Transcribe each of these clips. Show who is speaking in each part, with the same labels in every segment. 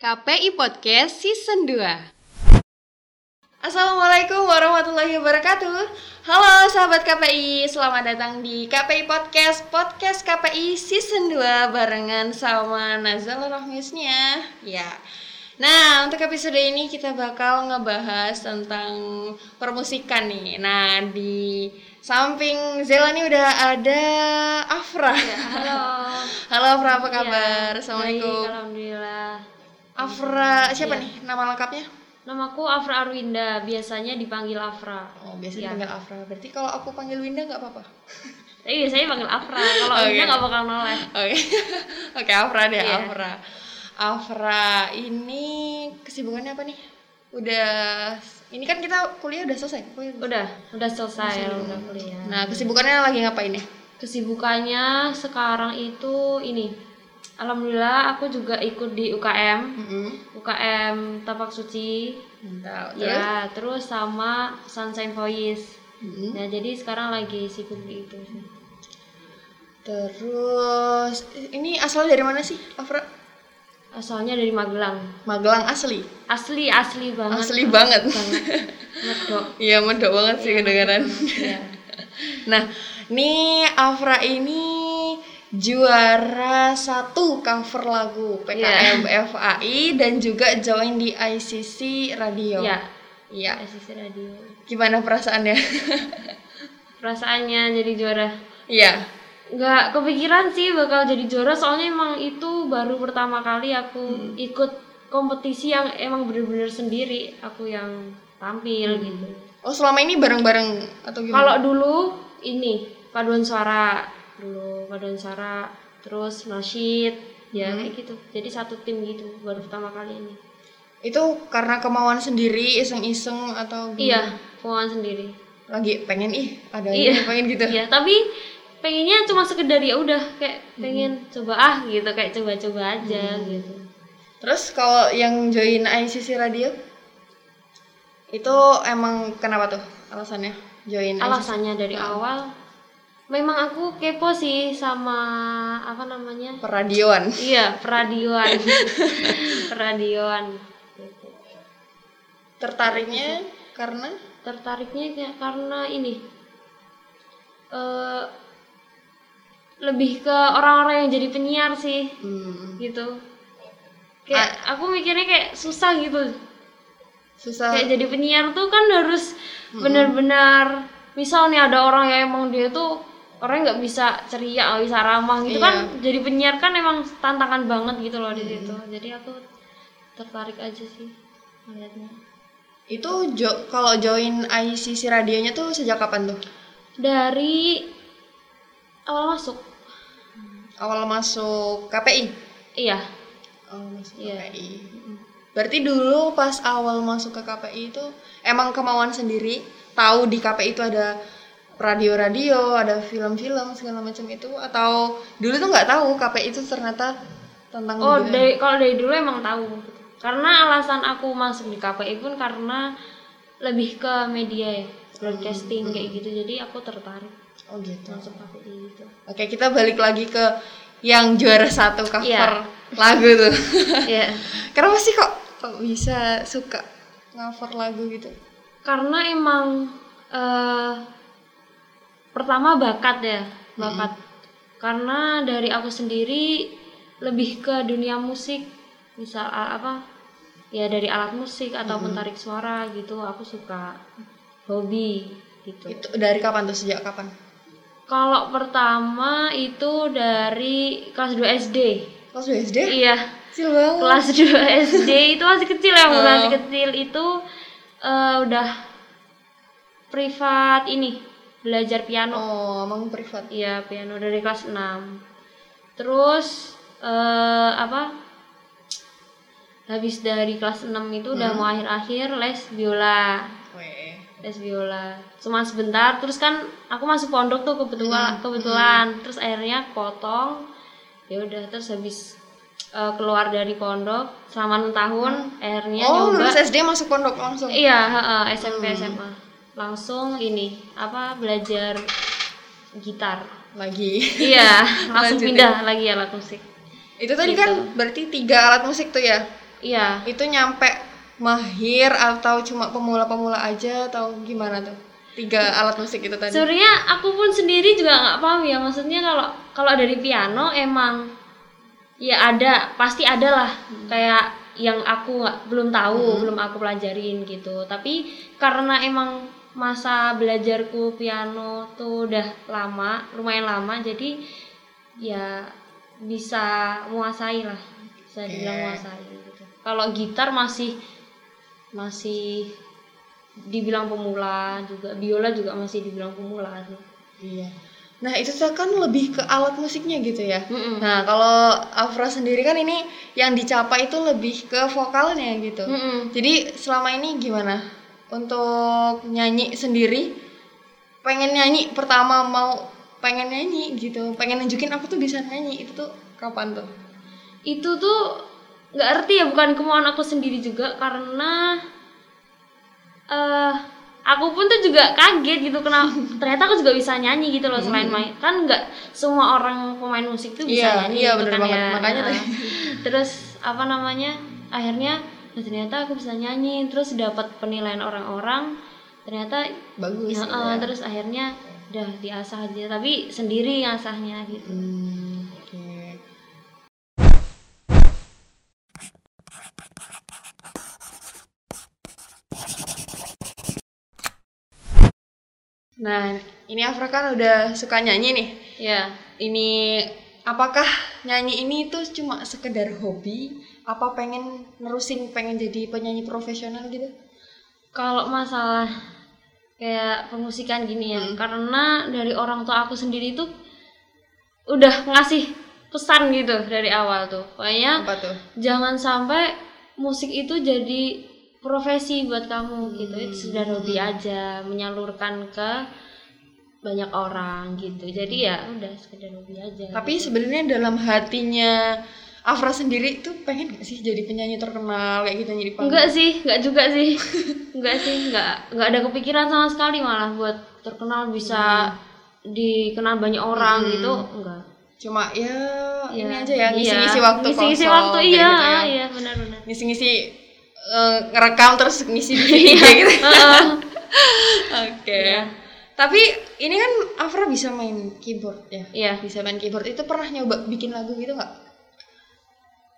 Speaker 1: KPI Podcast Season 2 Assalamualaikum warahmatullahi wabarakatuh Halo sahabat KPI, selamat datang di KPI Podcast Podcast KPI Season 2 barengan sama Nazal Rahmisnya Ya, Nah, untuk episode ini kita bakal ngebahas tentang permusikan nih. Nah, di samping Zela nih udah ada Afra.
Speaker 2: Halo.
Speaker 1: Halo Afra, apa kabar? Assalamualaikum.
Speaker 2: Ya, Baik, Alhamdulillah.
Speaker 1: Afra, siapa nih nama lengkapnya?
Speaker 2: Namaku Afra Arwinda, biasanya dipanggil Afra.
Speaker 1: Oh, biasanya
Speaker 2: Iya.
Speaker 1: dipanggil Afra. Berarti kalau aku panggil Winda nggak apa-apa?
Speaker 2: Tapi biasanya Eh, iya, panggil Afra. Kalau
Speaker 1: Oke.
Speaker 2: Arwinda nggak bakal noleh.
Speaker 1: Oke. Oke, Afra deh,
Speaker 2: Iya.
Speaker 1: Afra. Afra ini kesibukannya apa nih? Udah ini kan kita kuliah udah selesai. Kuliah udah.
Speaker 2: Udah, udah selesai, udah kuliah.
Speaker 1: Nah, kesibukannya lagi ngapain ya?
Speaker 2: Kesibukannya sekarang itu ini. Alhamdulillah aku juga ikut di UKM,
Speaker 1: Mm-mm.
Speaker 2: UKM Tapak Suci.
Speaker 1: Mantap. Terus? Hmm.
Speaker 2: Ya, terus sama Sunshine Voice.
Speaker 1: Mm-mm.
Speaker 2: Nah, jadi sekarang lagi sibuk di itu.
Speaker 1: Terus ini asalnya dari mana sih, Afra?
Speaker 2: Asalnya dari Magelang.
Speaker 1: Magelang asli.
Speaker 2: Asli, asli banget.
Speaker 1: Asli banget.
Speaker 2: Medok.
Speaker 1: Iya, medok banget sih kedengaran.
Speaker 2: Iya.
Speaker 1: Nah, nih Afra ini juara satu cover lagu PKM
Speaker 2: Iya.
Speaker 1: FAI dan juga join di ICC Radio.
Speaker 2: Iya.
Speaker 1: Iya.
Speaker 2: SCC Radio.
Speaker 1: Gimana perasaannya?
Speaker 2: Perasaannya jadi juara.
Speaker 1: Iya.
Speaker 2: Nggak kepikiran sih bakal jadi juara soalnya emang itu baru pertama kali aku ikut kompetisi yang emang bener-bener sendiri aku yang tampil gitu.
Speaker 1: Oh, selama ini bareng-bareng atau gimana?
Speaker 2: Kalau dulu ini paduan suara dulu paduan suara terus nasyid ya kayak gitu. Jadi satu tim gitu baru pertama kali ini.
Speaker 1: Itu karena kemauan sendiri, iseng-iseng atau gimana?
Speaker 2: Iya, keuangan sendiri.
Speaker 1: lagi pengen ih ada
Speaker 2: Iya.
Speaker 1: ini pengen gitu
Speaker 2: Iya, tapi pengennya cuma sekedar ya udah kayak pengen coba ah gitu, kayak coba-coba aja gitu.
Speaker 1: terus kalau yang join ICC radio itu emang kenapa tuh alasannya join ICC?
Speaker 2: Alasannya dari awal memang aku kepo sih sama apa namanya?
Speaker 1: peradioan
Speaker 2: Iya, peradioan. peradioan. gitu.
Speaker 1: tertariknya karena
Speaker 2: Tertariknya kayak karena ini eh lebih ke orang-orang yang jadi penyiar sih.
Speaker 1: hmm,
Speaker 2: gitu kayak aku mikirnya kayak susah gitu
Speaker 1: susah
Speaker 2: kayak jadi penyiar tuh kan harus benar-benar misal nih ada orang yang emang dia tuh orang nggak bisa ceria nggak bisa ramah gitu
Speaker 1: Iya.
Speaker 2: kan jadi penyiar kan emang tantangan banget gitu loh di situ jadi aku tertarik aja sih melihatnya
Speaker 1: itu jo- kalau join ICC radionya tuh sejak kapan tuh
Speaker 2: dari awal masuk
Speaker 1: awal masuk KPI
Speaker 2: iya
Speaker 1: awal masuk
Speaker 2: Iya.
Speaker 1: KPI berarti dulu pas awal masuk ke KPI itu emang kemauan sendiri tahu di KPI itu ada radio-radio ada film-film segala macam itu atau dulu tuh nggak tahu KPI itu ternyata tentang
Speaker 2: Oh,
Speaker 1: dunia.
Speaker 2: dari kalau dari dulu emang tahu. Karena alasan aku masuk di KPI pun karena lebih ke media ya, broadcasting kayak gitu. Jadi aku tertarik
Speaker 1: oh gitu
Speaker 2: masuk KPI gitu.
Speaker 1: oke kita balik lagi ke yang juara satu cover
Speaker 2: Iya.
Speaker 1: lagu tuh
Speaker 2: Iya.
Speaker 1: kenapa sih kok kok bisa suka cover lagu gitu
Speaker 2: Karena emang eh pertama bakat ya, bakat. Karena dari aku sendiri lebih ke dunia musik, misal a- apa? Ya dari alat musik ataupun tarik suara gitu, aku suka hobi gitu.
Speaker 1: itu dari kapan tuh sejak kapan
Speaker 2: Kalau pertama itu dari kelas 2 SD.
Speaker 1: kelas 2 SD
Speaker 2: Iya,
Speaker 1: kecil banget
Speaker 2: kelas 2 SD itu masih kecil ya, masih kecil itu eh, udah privat ini, belajar piano.
Speaker 1: oh emang privat
Speaker 2: Iya, piano dari kelas 6. Terus eh apa? Habis dari kelas 6 itu udah mau akhir-akhir les biola.
Speaker 1: Weh.
Speaker 2: les biola cuma sebentar terus kan aku masuk pondok tuh kebetulan kebetulan
Speaker 1: Hmm.
Speaker 2: terus akhirnya potong ya udah terus habis eh, keluar dari pondok selama 6 tahun akhirnya
Speaker 1: oh,
Speaker 2: Iya, nyoba
Speaker 1: lulus SD masuk pondok langsung.
Speaker 2: iya heeh, SMP
Speaker 1: Hmm.
Speaker 2: SMA langsung ini apa belajar gitar
Speaker 1: Lagi.
Speaker 2: iya langsung
Speaker 1: Lanjutin.
Speaker 2: pindah lagi ya alat musik
Speaker 1: Itu tadi kan berarti tiga alat musik tuh ya.
Speaker 2: Iya,
Speaker 1: Itu nyampe mahir atau cuma pemula-pemula aja atau gimana tuh? Tiga alat musik itu tadi.
Speaker 2: sebenarnya aku pun sendiri juga nggak paham ya maksudnya kalau kalau dari piano emang ya ada pasti ada lah kayak yang aku nggak- belum tahu belum aku pelajarin gitu tapi karena emang masa belajarku piano tuh udah lama lumayan lama jadi ya bisa menguasai lah bisa
Speaker 1: Oke.
Speaker 2: dibilang menguasai gitu. kalau gitar masih masih dibilang pemula juga biola juga masih dibilang pemula sih
Speaker 1: Iya. Nah, itu tuh kan lebih ke alat musiknya gitu ya.
Speaker 2: Mm-mm.
Speaker 1: Nah, kalau Afra sendiri kan ini yang dicapai itu lebih ke vokalnya gitu.
Speaker 2: Mm-mm.
Speaker 1: Jadi selama ini gimana untuk nyanyi sendiri? Pengen nyanyi pertama mau pengen nyanyi gitu, pengen nunjukin aku tuh bisa nyanyi itu tuh kapan tuh?
Speaker 2: itu tuh nggak ngerti ya bukan kemauan aku sendiri juga karena eh aku pun tuh juga kaget gitu kenapa ternyata aku juga bisa nyanyi gitu loh selain main kan nggak semua orang pemain musik tuh
Speaker 1: Hmm.
Speaker 2: bisa
Speaker 1: Iya,
Speaker 2: nyanyi
Speaker 1: iya,
Speaker 2: gitu
Speaker 1: bener
Speaker 2: kan
Speaker 1: banget.
Speaker 2: ya.
Speaker 1: Makanya
Speaker 2: Nah,
Speaker 1: tadi.
Speaker 2: terus apa namanya akhirnya "Nah, ternyata aku bisa nyanyi terus dapat penilaian orang-orang ternyata
Speaker 1: Bagus. gitu
Speaker 2: ya, eh,
Speaker 1: ya.
Speaker 2: terus akhirnya udah diasah aja tapi sendiri ngasahnya gitu
Speaker 1: Hmm, oke. Nah, ini Afra kan udah suka nyanyi nih.
Speaker 2: ya
Speaker 1: Ini apakah nyanyi ini tuh cuma sekedar hobi? Apa pengen nerusin pengen jadi penyanyi profesional gitu?
Speaker 2: kalau masalah kayak pengusikan gini ya karena dari orang tua aku sendiri itu udah ngasih pesan gitu dari awal tuh pokoknya
Speaker 1: Apa tuh?
Speaker 2: jangan sampai musik itu jadi profesi buat kamu gitu itu sudah hobi aja menyalurkan ke banyak orang gitu jadi ya udah sekedar hobi aja
Speaker 1: Tapi sebenarnya dalam hatinya Afra sendiri tuh pengen gak sih jadi penyanyi terkenal kayak gitu nyanyi di panggung?
Speaker 2: Enggak sih, enggak juga sih. enggak sih, enggak enggak ada kepikiran sama sekali malah buat terkenal
Speaker 1: Hmm.
Speaker 2: bisa dikenal banyak orang gitu, enggak.
Speaker 1: cuma ya,
Speaker 2: Ya,
Speaker 1: Hmm. ini aja ya
Speaker 2: iya.
Speaker 1: ngisi-ngisi waktu
Speaker 2: Ngisi-ngisi
Speaker 1: kosong,
Speaker 2: waktu
Speaker 1: kayak
Speaker 2: iya,
Speaker 1: gitu ya.
Speaker 2: iya benar-benar.
Speaker 1: ngisi-ngisi eh, ngerekam terus ngisi di IG gitu oke
Speaker 2: Heeh. Iya.
Speaker 1: tapi ini kan Afra bisa main keyboard ya
Speaker 2: Iya,
Speaker 1: bisa main keyboard itu pernah nyoba bikin lagu gitu nggak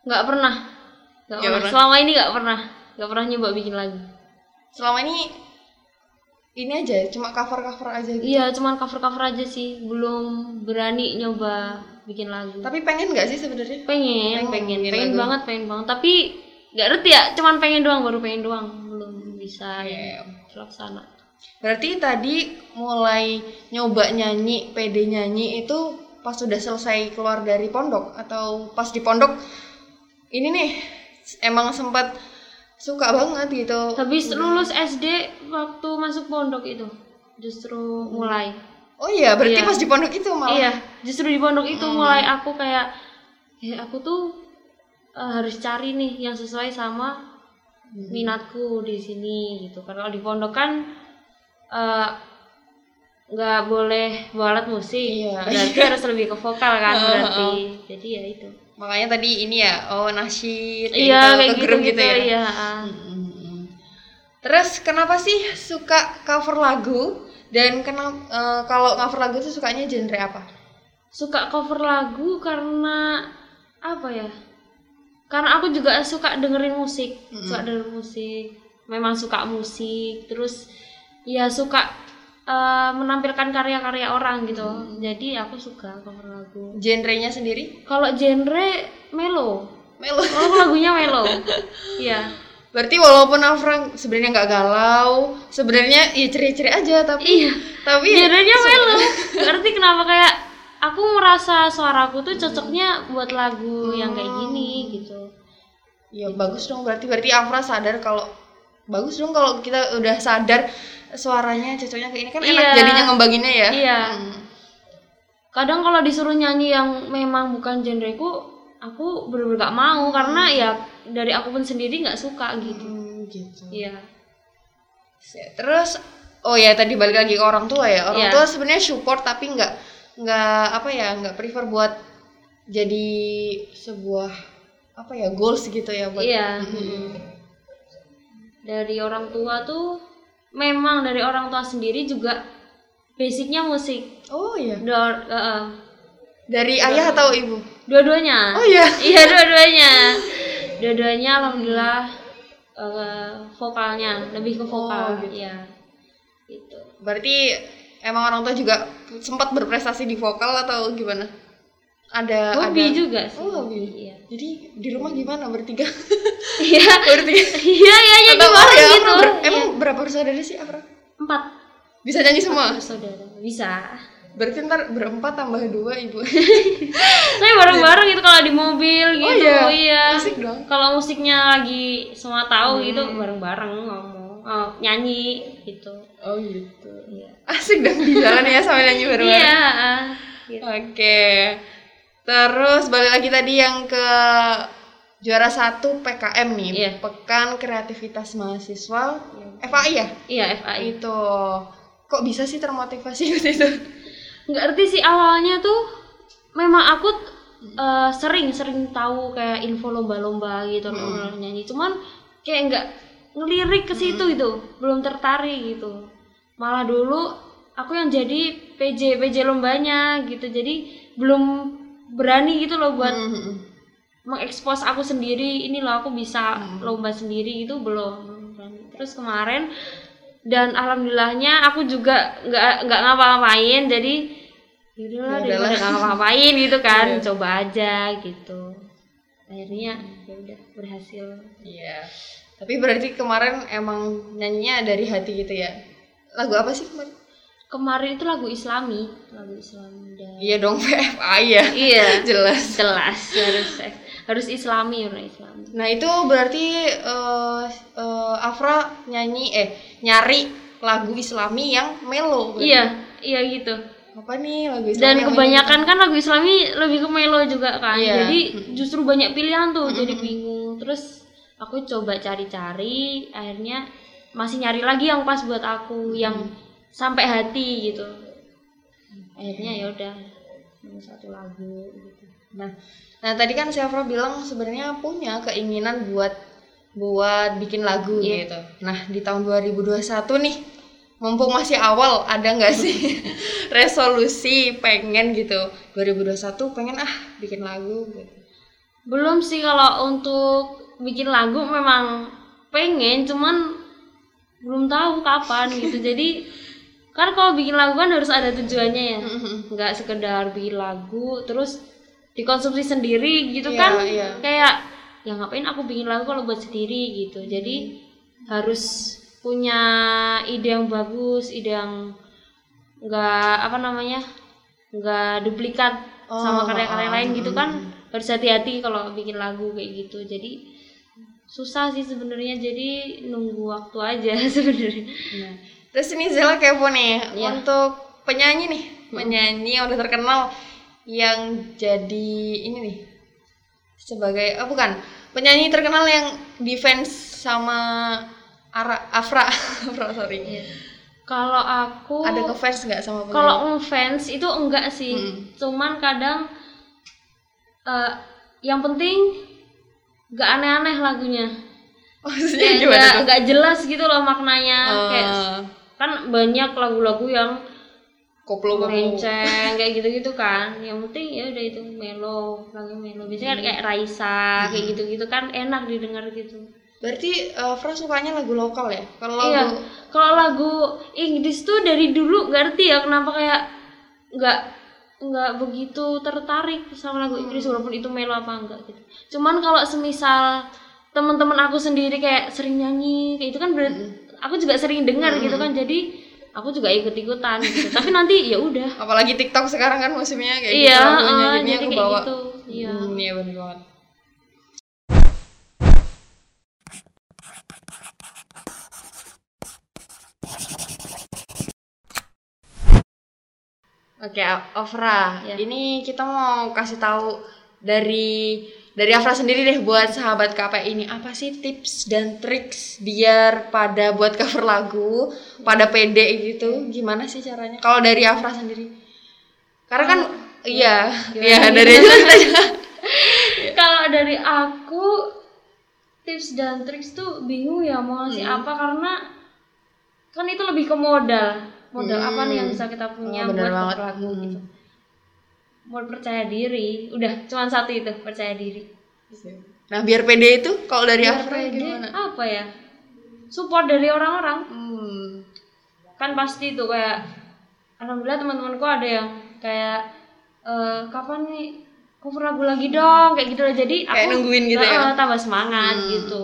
Speaker 2: enggak pernah. Enggak
Speaker 1: Nggak
Speaker 2: pernah.
Speaker 1: pernah.
Speaker 2: Selama ini enggak pernah. Enggak pernah nyoba bikin lagu.
Speaker 1: selama ini ini aja cuma cover cover aja gitu
Speaker 2: Iya, cuman cover-cover aja sih, belum berani nyoba bikin lagu.
Speaker 1: tapi pengen nggak sih sebenarnya
Speaker 2: pengen
Speaker 1: Pengen
Speaker 2: pengen
Speaker 1: Oh, bikin
Speaker 2: pengen
Speaker 1: lagu.
Speaker 2: banget pengen banget tapi nggak ngerti ya cuman pengen doang baru pengen doang belum bisa
Speaker 1: Oke.
Speaker 2: terlaksana
Speaker 1: berarti tadi mulai nyoba nyanyi pede nyanyi itu pas sudah selesai keluar dari pondok atau pas di pondok ini nih emang sempat suka banget gitu
Speaker 2: habis lulus SD waktu masuk pondok itu justru
Speaker 1: Hmm.
Speaker 2: mulai
Speaker 1: Oh iya, berarti
Speaker 2: Iya.
Speaker 1: pas di pondok itu malah.
Speaker 2: iya justru di pondok itu
Speaker 1: Hmm.
Speaker 2: mulai aku kayak ya aku tuh eh, harus cari nih yang sesuai sama
Speaker 1: Hmm.
Speaker 2: minatku di sini gitu karena kalau di pondok kan eh, nggak boleh bawa alat musik
Speaker 1: Iya.
Speaker 2: berarti harus lebih ke vokal kan berarti jadi ya itu
Speaker 1: Makanya tadi ini ya, oh nasyid kayak
Speaker 2: iya kayak
Speaker 1: ke
Speaker 2: gitu,
Speaker 1: grup
Speaker 2: gitu,
Speaker 1: ya.
Speaker 2: iya
Speaker 1: Mm-mm. Terus kenapa sih suka cover lagu dan kenapa eh, kalau cover lagu itu sukanya genre apa?
Speaker 2: suka cover lagu karena apa ya karena aku juga suka dengerin musik suka dengerin musik memang suka musik terus ya suka eh, menampilkan karya-karya orang gitu jadi aku suka cover lagu
Speaker 1: Genrenya sendiri?
Speaker 2: kalau genre melo
Speaker 1: Melo.
Speaker 2: kalau lagunya melo iya
Speaker 1: Berarti walaupun Afra sebenarnya nggak galau, sebenarnya ya ceri-ceri aja tapi
Speaker 2: iya
Speaker 1: tapi ya
Speaker 2: Jadinya melo. Ngerti kenapa kayak aku merasa suaraku tuh cocoknya buat lagu yang kayak gini gitu.
Speaker 1: Ya bagus dong berarti berarti Afra sadar kalau bagus dong kalau kita udah sadar suaranya cocoknya kayak ini kan enak
Speaker 2: Iya.
Speaker 1: jadinya ngembanginnya ya.
Speaker 2: Iya.
Speaker 1: Hmm.
Speaker 2: Kadang kalau disuruh nyanyi yang memang bukan genreku, aku bener-bener gak mau karena ya dari aku pun sendiri nggak suka gitu.
Speaker 1: Hmm, gitu.
Speaker 2: Iya.
Speaker 1: Se- Terus oh ya tadi balik lagi ke orang tua ya. Orang
Speaker 2: Iya.
Speaker 1: tua sebenarnya support tapi nggak nggak apa ya nggak prefer buat jadi sebuah apa ya goals gitu ya buat
Speaker 2: Iya.
Speaker 1: Mm-mm.
Speaker 2: dari orang tua tuh memang dari orang tua sendiri juga basicnya musik
Speaker 1: oh iya
Speaker 2: Dor- eh, eh,
Speaker 1: dari
Speaker 2: Iya.
Speaker 1: ayah atau ibu
Speaker 2: dua-duanya
Speaker 1: oh iya
Speaker 2: iya dua-duanya dua-duanya alhamdulillah eh, vokalnya lebih ke vokal
Speaker 1: Oh, gitu.
Speaker 2: iya gitu
Speaker 1: berarti emang orang tua juga sempat berprestasi di vokal atau gimana ada
Speaker 2: hobi
Speaker 1: ada-
Speaker 2: juga sih
Speaker 1: oh hobi
Speaker 2: iya
Speaker 1: jadi di rumah gimana bertiga
Speaker 2: iya
Speaker 1: bertiga
Speaker 2: iya iya jadi
Speaker 1: Atau
Speaker 2: orang
Speaker 1: ya, Afra
Speaker 2: gitu
Speaker 1: ber-
Speaker 2: Iya.
Speaker 1: emang berapa bersaudara sih Afra
Speaker 2: empat
Speaker 1: bisa nyanyi semua
Speaker 2: bersaudara bisa
Speaker 1: berarti ntar berempat tambah dua ibu
Speaker 2: Iya. saya bareng-bareng gitu kalau di mobil gitu
Speaker 1: Oh, iya.
Speaker 2: iya.
Speaker 1: asik dong
Speaker 2: kalau musiknya lagi semua tahu gitu bareng-bareng ngomong oh, nyanyi gitu
Speaker 1: oh gitu
Speaker 2: iya
Speaker 1: asik dong di jalan ya sama nyanyi bareng
Speaker 2: iya ah, gitu.
Speaker 1: Oke. Terus balik lagi tadi yang ke juara satu PKM nih,
Speaker 2: Iya.
Speaker 1: Pekan Kreativitas Mahasiswa FAI ya?
Speaker 2: iya FAI
Speaker 1: Itu. Kok bisa sih termotivasi gitu itu?
Speaker 2: nggak ngerti sih awalnya tuh memang aku eh, sering sering tahu kayak info lomba-lomba gitu lomba nyanyi cuman kayak nggak ngelirik ke situ gitu belum tertarik gitu malah dulu aku yang jadi PJ PJ lombanya gitu jadi belum berani gitu loh buat
Speaker 1: Mhm.
Speaker 2: mengekspos aku sendiri ini loh aku bisa
Speaker 1: Hmm.
Speaker 2: lomba sendiri itu belum terus kemarin dan alhamdulillahnya aku juga nggak nggak ngapa-ngapain jadi
Speaker 1: Ya
Speaker 2: yaudah lah,
Speaker 1: udahlah. Iya.
Speaker 2: daripada nggak ngapa-ngapain gitu kan coba aja gitu akhirnya ya udah berhasil
Speaker 1: Iya. Tapi berarti kemarin emang nyanyinya dari hati gitu ya? Lagu apa sih kemarin?
Speaker 2: kemarin itu lagu islami lagu islami dan
Speaker 1: Iya dong PFAI ya.
Speaker 2: iya
Speaker 1: Jelas.
Speaker 2: jelas harus eh, harus islami harus islami
Speaker 1: Nah itu berarti eh, eh, Afra nyanyi eh nyari lagu Islami yang melo. berarti.
Speaker 2: iya iya gitu
Speaker 1: Apa nih lagu Islami?
Speaker 2: dan
Speaker 1: yang
Speaker 2: kebanyakan kan lagu islami lebih ke melo juga kan
Speaker 1: Iya.
Speaker 2: jadi justru banyak pilihan tuh jadi bingung terus aku coba cari-cari akhirnya masih nyari lagi yang pas buat aku yang sampai hati gitu akhirnya ya udah nemu satu lagu gitu
Speaker 1: Nah, nah tadi kan si Afra bilang sebenarnya punya keinginan buat buat bikin lagu
Speaker 2: Iya.
Speaker 1: gitu. Nah, di tahun 2021 nih mumpung masih awal ada nggak sih resolusi pengen gitu 2021 pengen ah bikin lagu gitu.
Speaker 2: belum sih kalau untuk bikin lagu memang pengen cuman belum tahu kapan gitu jadi kan kalau bikin lagu kan harus ada tujuannya ya nggak sekedar bikin lagu terus dikonsumsi sendiri gitu
Speaker 1: Iya,
Speaker 2: kan
Speaker 1: iya.
Speaker 2: kayak ya ngapain aku bikin lagu kalau buat sendiri gitu
Speaker 1: Hmm.
Speaker 2: jadi harus punya ide yang bagus ide yang nggak apa namanya nggak duplikat
Speaker 1: Oh,
Speaker 2: sama karya-karya
Speaker 1: ah,
Speaker 2: lain gitu
Speaker 1: mm,
Speaker 2: kan harus hati-hati kalau bikin lagu kayak gitu jadi susah sih sebenarnya jadi nunggu waktu aja sebenarnya
Speaker 1: Nah, terus ini Zela kepo nih
Speaker 2: Iya.
Speaker 1: untuk penyanyi nih, penyanyi yang udah terkenal yang jadi ini nih sebagai oh bukan penyanyi terkenal yang defense sama Ara, Afra, Afra sorry.
Speaker 2: kalau aku
Speaker 1: Ada ke fans nggak sama penyanyi?
Speaker 2: Iya. Oh. kalau ngefans itu enggak sih
Speaker 1: Mm.
Speaker 2: cuman kadang eh, yang penting nggak aneh-aneh lagunya
Speaker 1: maksudnya
Speaker 2: Kayak
Speaker 1: Iya, gimana
Speaker 2: nggak
Speaker 1: tuh?
Speaker 2: nggak jelas gitu loh maknanya kayak
Speaker 1: Eh,
Speaker 2: kan banyak lagu-lagu yang
Speaker 1: koplo koplo.
Speaker 2: melenceng kayak gitu-gitu kan yang penting ya udah itu melo lagu melo biasanya
Speaker 1: Hmm.
Speaker 2: kan kayak Raisa kayak gitu-gitu kan enak didengar gitu
Speaker 1: Berarti eh, Afra sukanya lagu lokal ya? Kalau
Speaker 2: iya
Speaker 1: lagu
Speaker 2: kalau lagu Inggris tuh dari dulu nggak ngerti ya kenapa kayak nggak nggak begitu tertarik sama lagu Inggris
Speaker 1: Hmm.
Speaker 2: walaupun itu melo apa enggak gitu cuman kalau semisal teman-teman aku sendiri kayak sering nyanyi kayak itu kan berarti
Speaker 1: Hmm.
Speaker 2: aku juga sering dengar gitu kan jadi aku juga ikut-ikutan gitu. tapi nanti ya udah
Speaker 1: apalagi TikTok sekarang kan musimnya kayak
Speaker 2: iya
Speaker 1: gitu lagunya
Speaker 2: eh,
Speaker 1: jadinya
Speaker 2: jadi
Speaker 1: aku
Speaker 2: kayak
Speaker 1: bawa.
Speaker 2: gitu iya
Speaker 1: Hmm, iya bener banget. Oke, Afra.
Speaker 2: Ya.
Speaker 1: Ini kita mau kasih tahu dari dari Afra sendiri deh buat sahabat KPI ini apa sih tips dan triks biar pada buat cover lagu, pada pede gitu. Gimana sih caranya? Kalau dari Afra sendiri. Karena kan iya, iya dari aja.
Speaker 2: Kalau kalau dari aku tips dan triks tuh bingung ya mau ngasih apa karena kan itu lebih ke modal modal apa nih yang bisa kita punya
Speaker 1: Oh, bener
Speaker 2: Iya, buat
Speaker 1: banget.
Speaker 2: berlaku
Speaker 1: Hmm.
Speaker 2: gitu mau percaya diri udah cuman satu itu percaya diri
Speaker 1: Nah, biar pede itu kalau dari
Speaker 2: Biar
Speaker 1: Afra
Speaker 2: pede,
Speaker 1: gimana?
Speaker 2: apa ya support dari orang-orang
Speaker 1: Hmm.
Speaker 2: kan pasti tuh kayak alhamdulillah teman-temanku ada yang kayak eh, kapan nih cover lagu lagi dong kayak gitu lah jadi
Speaker 1: Kayak
Speaker 2: aku
Speaker 1: nungguin gitu ya?
Speaker 2: eh, tambah semangat
Speaker 1: Hmm.
Speaker 2: gitu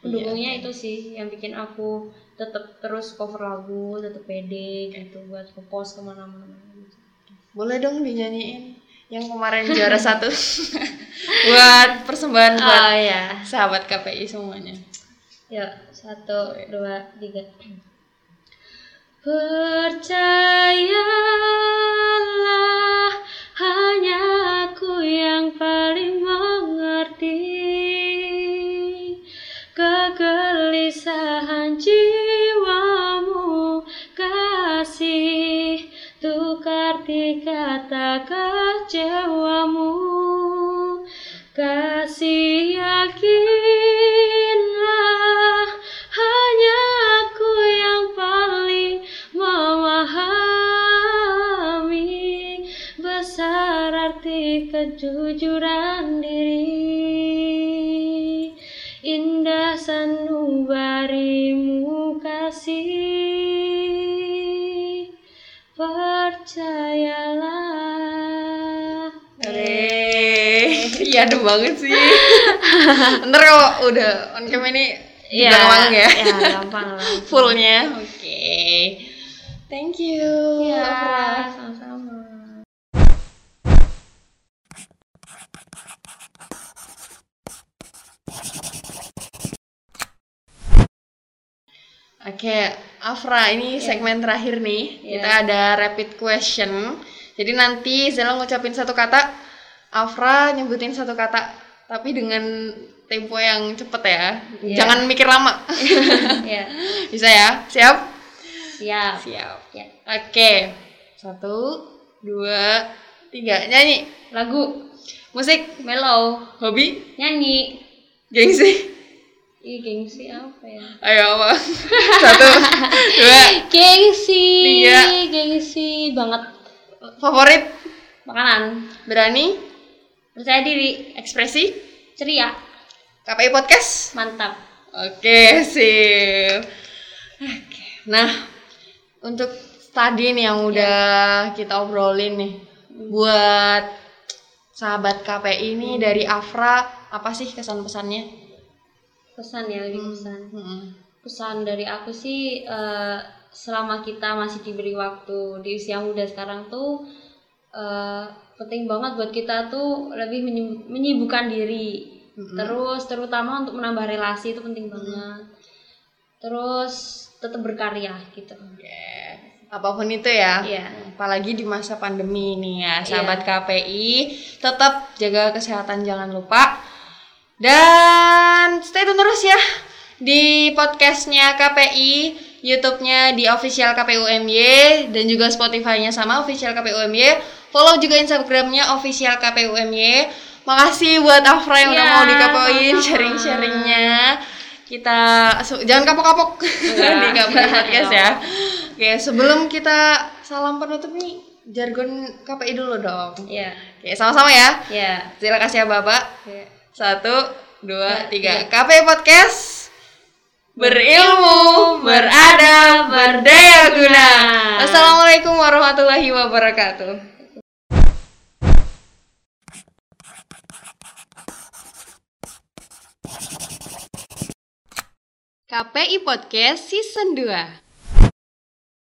Speaker 2: pendukungnya itu sih yang bikin aku tetap terus cover lagu tetap pede gitu buat ke post kemana-mana gitu.
Speaker 1: Boleh dong dinyanyiin yang kemarin juara satu buat persembahan buat
Speaker 2: oh ya
Speaker 1: sahabat KPI semuanya.
Speaker 2: Yuk, Ya, satu, dua, tiga. Percayalah hanya aku yang paling mengerti kegelisahan jiwamu kasih tukar tiga kata kecewamu kasih yakinlah hanya aku yang paling memahami besar arti kejujuran diri indah sanubarimu kasih percayalah
Speaker 1: Hore. Iya aduh banget sih. Ntar kalau udah on cam ini
Speaker 2: Iya,
Speaker 1: digalang ya.
Speaker 2: ya gampang lah.
Speaker 1: Fullnya. Oke. Thank you.
Speaker 2: Iya,
Speaker 1: Afra.
Speaker 2: sama-sama.
Speaker 1: Oke, Afra, ini segmen terakhir nih.
Speaker 2: Iya.
Speaker 1: Kita ada rapid question. Jadi nanti Zela ngucapin satu kata, Afra nyebutin satu kata, tapi dengan tempo yang cepet ya.
Speaker 2: Iya.
Speaker 1: Jangan mikir lama.
Speaker 2: Iya,
Speaker 1: Bisa ya? Siap?
Speaker 2: siap.
Speaker 1: Siap.
Speaker 2: Ya.
Speaker 1: Oke. Satu, dua, tiga. Nyanyi.
Speaker 2: Lagu
Speaker 1: Musik.
Speaker 2: mellow,
Speaker 1: Hobi.
Speaker 2: nyanyi.
Speaker 1: Gengsi.
Speaker 2: Ih, gengsi apa ya?
Speaker 1: Ayo apa? Satu, dua.
Speaker 2: Gengsi,
Speaker 1: Eh. Tiga.
Speaker 2: gengsi banget.
Speaker 1: Favorit.
Speaker 2: Makanan,
Speaker 1: Berani.
Speaker 2: percaya diri,
Speaker 1: Ekspresi.
Speaker 2: ceria,
Speaker 1: KPI Podcast.
Speaker 2: mantap.
Speaker 1: Oke, sip. Oke. Nah, untuk tadi nih yang udah kita obrolin nih buat sahabat KPI ini dari Afra apa sih kesan-pesannya?
Speaker 2: Pesan ya, lebih pesan.
Speaker 1: Hmm.
Speaker 2: Pesan dari aku sih eh, selama kita masih diberi waktu di usia muda sekarang tuh eh, penting banget buat kita tuh lebih menyib- menyibukkan diri
Speaker 1: Mm-mm.
Speaker 2: terus terutama untuk menambah relasi itu penting
Speaker 1: Mm-hmm.
Speaker 2: banget terus tetap berkarya gitu
Speaker 1: Yeah. Apapun itu ya.
Speaker 2: Iya.
Speaker 1: Apalagi di masa pandemi ini ya, sahabat KPI, tetap jaga kesehatan jangan lupa. Dan stay tune terus ya di podcastnya KPI, YouTube-nya di official KPU MY dan juga Spotify-nya sama official KPU MY. Follow juga Instagram-nya official KPU MY. Makasih buat Afra yang udah
Speaker 2: Iya,
Speaker 1: mau dikapoin
Speaker 2: sama-sama.
Speaker 1: sharing-sharingnya. Kita su- jangan kapok-kapok di
Speaker 2: Iya.
Speaker 1: KPI podcast ya. Oke, sebelum kita salam penutup nih jargon KPI dulu dong.
Speaker 2: ya
Speaker 1: Oke, sama-sama ya.
Speaker 2: ya
Speaker 1: Terima kasih ya Bapak.
Speaker 2: ya.
Speaker 1: Satu, dua, Nah,
Speaker 2: Dua,
Speaker 1: tiga. KP Podcast berilmu, beradab, berdaya guna.
Speaker 2: Guna.
Speaker 1: Assalamualaikum warahmatullahi wabarakatuh. KPI Podcast Season 2